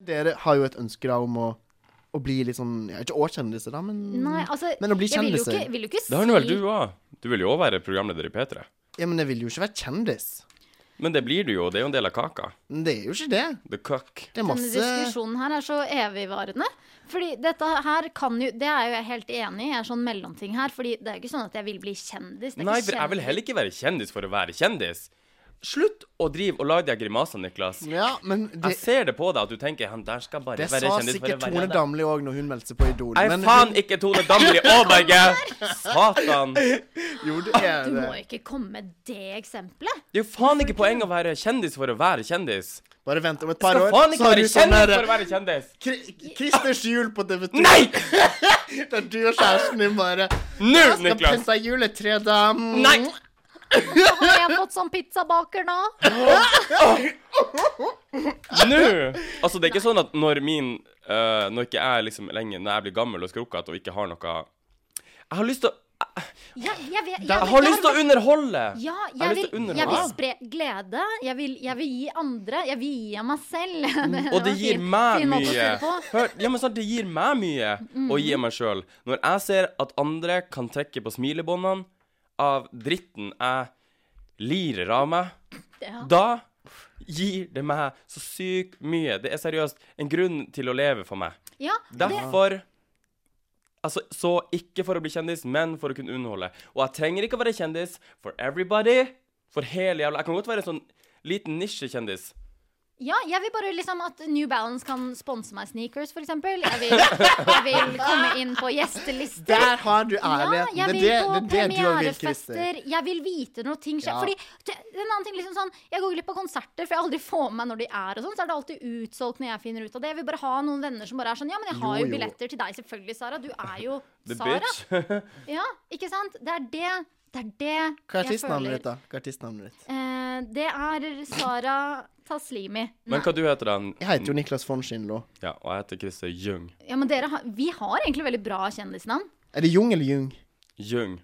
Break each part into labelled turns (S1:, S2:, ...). S1: dere har jo et ønske da om å, å bli litt sånn ja, Ikke årkjendiser, da, men
S2: Nei, altså,
S1: Men å bli
S2: jeg vil jo
S1: kjendiser.
S2: ikke, vil jo ikke si
S3: Det har nå vel du òg. Du vil jo òg være programleder i P3.
S1: Ja, men jeg vil jo ikke være kjendis.
S3: Men det blir du jo. Det er jo en del av kaka.
S1: Men det er jo ikke det.
S3: The cook.
S1: Det er
S2: Denne
S1: masse
S2: diskusjonen her er så evigvarende. Fordi dette her kan jo Det er jo jeg helt enig i. Jeg er sånn mellomting her. Fordi det er jo ikke sånn at jeg vil bli kjendis. Det er
S3: Nei,
S2: ikke
S3: for jeg vil
S2: kjendis.
S3: heller ikke være kjendis for å være kjendis. Slutt å drive og lage de grimasene, Niklas.
S1: Ja, men det,
S3: Jeg ser det på deg at du tenker han der skal bare
S1: det
S3: være
S1: sa
S3: kjendis for å
S1: sikkert
S3: være
S1: Tone
S3: kjendis.
S1: Damli òg når hun meldte seg på Idol.
S3: Jeg er faen ikke Tone Damli Aaberge! Satan. Det
S1: Jo, det er
S2: Du
S1: det.
S2: må ikke komme med det eksempelet.
S3: er jo faen ikke poeng å være kjendis for å være kjendis.
S1: Bare vent om et
S3: Du
S1: par
S3: skal
S1: år, så
S3: faen ikke
S1: har
S3: være
S1: du sånn
S3: kjendis for
S1: der
S3: å være kjendis.
S1: Kri- Christers jul på TV2.
S3: Nei!
S1: Der du og kjæresten din bare
S3: Nå,
S1: Jeg skal
S3: Niklas.
S1: pynte juletreet, da. Mm.
S3: Nei!
S2: Har jeg fått sånn pizzabaker nå?
S3: Nå! Altså, det er ikke sånn at når min eh, Når ikke jeg liksom lenger Når jeg blir gammel og skrukkete og ikke har noe Jeg har lyst til å
S2: Ja, jeg, vet, jeg,
S3: Jeg
S2: vet-
S3: har
S2: jeg
S3: lyst til å underholde!
S2: Ja,
S3: Jeg har
S2: jeg
S3: lyst
S2: vil,
S3: til å underholde.
S2: jeg vil spre glede. Jeg vil, jeg vil gi andre. Jeg vil gi av meg selv. Det,
S3: Og det
S2: var
S3: gir
S2: fin-
S3: meg
S2: fin måte å
S3: mye.
S2: si det på. Mm.
S3: Hør, ja, men sant, det gir meg mye å gi meg sjøl. Når jeg ser at andre kan trekke på smilebåndene av dritten jeg lirer av meg,
S2: Ja.
S3: da gir det meg så sykt mye. Det er seriøst en grunn til å leve for meg.
S2: Ja, det,
S3: Derfor Altså, så ikke for å bli kjendis, men for å kunne underholde. Og jeg trenger ikke å være kjendis for everybody. For hele jævla Jeg kan godt være en sånn liten nisjekjendis.
S2: ja, jeg vil bare liksom at New Balance kan sponse meg sneakers, f.eks. Jeg, vil- jeg vil komme inn på gjestelister.
S1: Der har du
S2: Ja,
S1: ærligheten.
S2: jeg
S1: det
S2: vil
S1: er
S2: gå
S1: det, det, er det du har vil, Christer.
S2: premierefester. Jeg vil vite når ting skjer.
S1: Ja.
S2: Fordi t- en annen ting liksom sånn Jeg går glipp av konserter, for jeg aldri får med meg når de er og sånn. Så er det alltid utsolgt når jeg finner ut av det. Jeg vil bare ha noen venner som bare er sånn Ja, men jeg har
S1: Jo,
S2: jo
S1: jo.
S2: billetter til deg, selvfølgelig, Sara. Du er jo
S3: The
S2: Sara.
S3: bitch.
S2: Ja, ikke sant? Det er det. Det er det
S1: Hva er
S2: jeg
S1: artistnavnet
S2: føler.
S1: ditt, da? Hva er artistnavnet ditt?
S2: Eh, det er Sara Taslimi.
S3: Men hva du heter du, da?
S1: Jeg heter jo Niklas von Schindlo.
S3: Ja, og jeg heter Christer Jung.
S2: Ja, men dere har, vi har egentlig veldig bra kjendisnavn.
S1: Er det Jung eller Jung?
S3: Jung.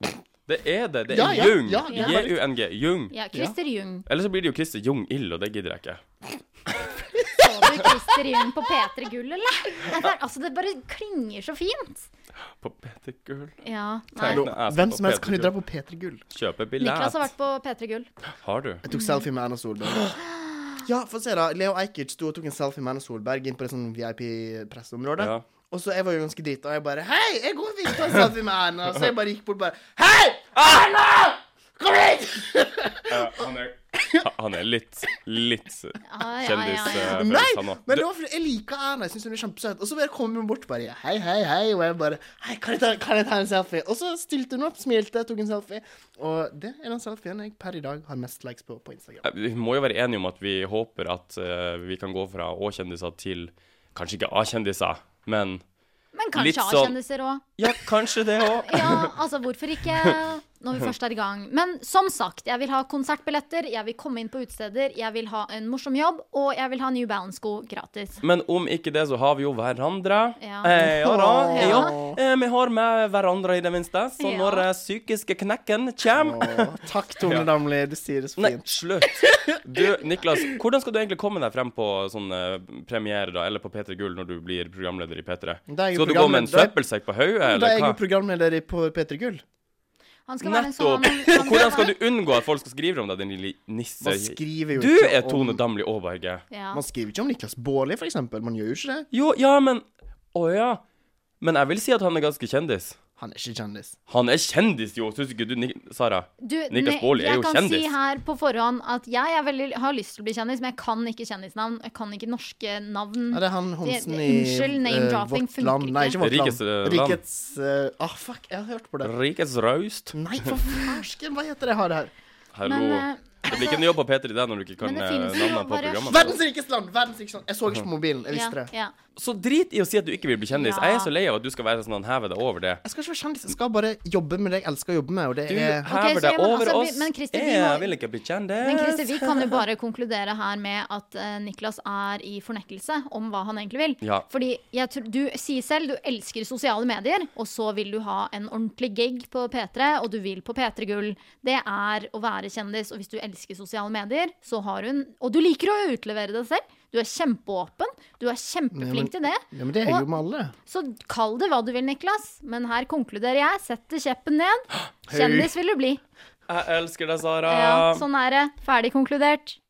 S3: Det er det. Det er
S1: Ja, ja,
S3: Jung.
S1: ja, ja.
S3: J-U-N-G. Jung.
S2: Ja, Christer Jung.
S3: Eller så blir det jo Christer Jung Ild, og det gidder jeg ikke.
S2: Så du Christer Jung på P3 Gull, eller? Nei, det er- Altså, det bare klinger så fint.
S3: På Peter Gull.
S2: Ja.
S3: Tenk
S2: Nei.
S3: når jeg skal
S1: Hvem
S3: på
S1: som helst
S3: P3
S1: kan jo dra
S3: Gull.
S1: på P3 Gull.
S3: Kjøpe billett.
S2: Niklas har vært på P3 Gull.
S3: Har du?
S1: Jeg tok selfie med Erna Solberg. Ja, få se, da. Leo Ajkic sto og tok en selfie med Erna Solberg inn på det sånn VIP-presseområdet.
S3: Ja.
S1: Og så jeg var jo ganske drita, og jeg bare Hei, jeg går vil ta en selfie med Erna. Så jeg bare gikk bort og bare Hei! Erna! Kom hit!
S3: han er Han er litt, litt
S2: Ai, ai, ai.
S1: Nei,
S3: kjendisfølelse, han òg.
S1: men det var fordi jeg liker Erna. Jeg syns hun er kjempesøt. Og så bare kom hun bort bare Hei, hei, hei. Og jeg bare Hei, kan jeg ta, kan jeg ta en selfie? Og så stilte hun opp, smilte, tok en selfie. Og det er den selfien jeg per i dag har mest likes på på Instagram.
S3: Eh, Vi må jo være enige om at vi håper at eh, vi kan gå fra Å-kjendiser til kanskje ikke A-kjendiser, men
S2: Men
S3: Litt
S2: kanskje
S3: sånn-
S2: A-kjendiser òg.
S3: Ja, kanskje det òg.
S2: Ja, altså hvorfor ikke? Når vi først er i gang. Men som sagt, jeg vil ha konsertbilletter, jeg vil komme inn på utesteder, jeg vil ha en morsom jobb, og jeg vil ha New Balance-sko gratis.
S3: Men om ikke det, så har vi jo hverandre.
S2: Ja.
S3: Eh, ja da.
S1: Åh.
S3: Eh, ja. Eh, vi har med hverandre i det minste. Så
S2: Ja.
S3: når eh, psykiske knekken kommer
S1: Åh, takk, Tone
S3: Ja.
S1: Damli. Du sier det så
S3: Nei,
S1: fint.
S3: slutt. Du, Niklas, hvordan skal du egentlig komme deg frem på sånn eh, premiere, da, eller på P3 Gull, når du blir programleder i P3?
S1: Da er jeg jo
S3: Skal du gå med en
S1: programleder.
S3: søppelsekk på hodet,
S1: Da er
S3: eller
S1: jeg
S3: hva?
S1: jo programleder i- på P3 Gull.
S2: Han skal være en
S3: Nettopp.
S2: sånn
S3: Og hvordan skal du unngå at folk skal skrive om deg, din lille nisse?
S1: Man skriver jo
S3: Du
S1: ikke
S3: er
S1: om-
S3: Tone Damli Aaberge.
S2: ja.
S1: Man skriver ikke om Niklas Baarli, for eksempel. Man gjør jo ikke det.
S3: Jo, ja, men Å ja. Men jeg vil si at han er ganske kjendis.
S1: Han er ikke kjendis.
S2: Mm.
S3: Han er kjendis, jo! Syns ikke du, Nik Sara?
S2: Du,
S3: Niklas
S2: ne-
S3: Baarli er jo
S2: Jeg kan si
S3: kjendis.
S2: her på forhånd at jeg er veldig, har lyst til å bli kjendis, men jeg kan ikke kjendisnavn. Jeg kan ikke norske navn.
S1: Ja, det er han Homsen i
S2: Unnskyld, name
S1: eh,
S2: dropping
S1: Vårt
S2: funker
S1: Land. Nei,
S2: ikke.
S1: ikke Vårt
S3: Rikets,
S1: Land.
S3: eh, land.
S1: Rikets eh, Ah, fuck, jeg har hørt på det.
S3: Rikets raust.
S1: Nei, for farsken, hva heter det jeg har her?
S3: Hallo.
S2: Men, eh,
S3: det blir ikke en jobb på P3 der når du ikke kan
S2: men det
S3: eh,
S2: finnes jo
S3: navnet på
S2: bare-
S3: programmet.
S1: Verdens rikeste land! Verdens rikeste land. Jeg så ikke på mobilen. Jeg
S2: ja,
S1: visste det.
S2: ja.
S3: Så drit i å si at du ikke vil bli kjendis.
S2: Ja.
S3: Jeg er så lei av at du skal være sånn han hever deg over det.
S1: Jeg skal ikke være kjendis. Jeg skal bare jobbe med det jeg elsker å jobbe med, og det
S3: Du
S1: er
S2: så
S3: hever
S2: jeg
S3: deg
S2: må-
S3: over
S2: altså, vi-
S3: oss.
S2: men Christer, vi må-
S3: jeg vil ikke bli
S2: Men Christer,
S3: kjendis.
S2: vi kan jo bare konkludere her med at eh, Niklas er i fornekkelse om hva han egentlig vil.
S3: Ja.
S2: Fordi jeg tror, du sier selv du elsker sosiale medier, og så vil du ha en ordentlig gig på P3, og du vil på P3 Gull. Det er å være kjendis, og hvis du el elsker sosiale medier, så har hun Og du liker å utlevere deg selv. Du er kjempeåpen. Du er
S1: Nei, men-
S2: kjempeflink til det.
S1: Ja, men det er jeg jo med alle.
S2: Så kall det hva du vil, Niklas, men her konkluderer jeg. Setter kjeppen ned. Kjendis vil du bli.
S3: Jeg elsker deg, Sara.
S2: Ja, sånn er det. Ferdig konkludert.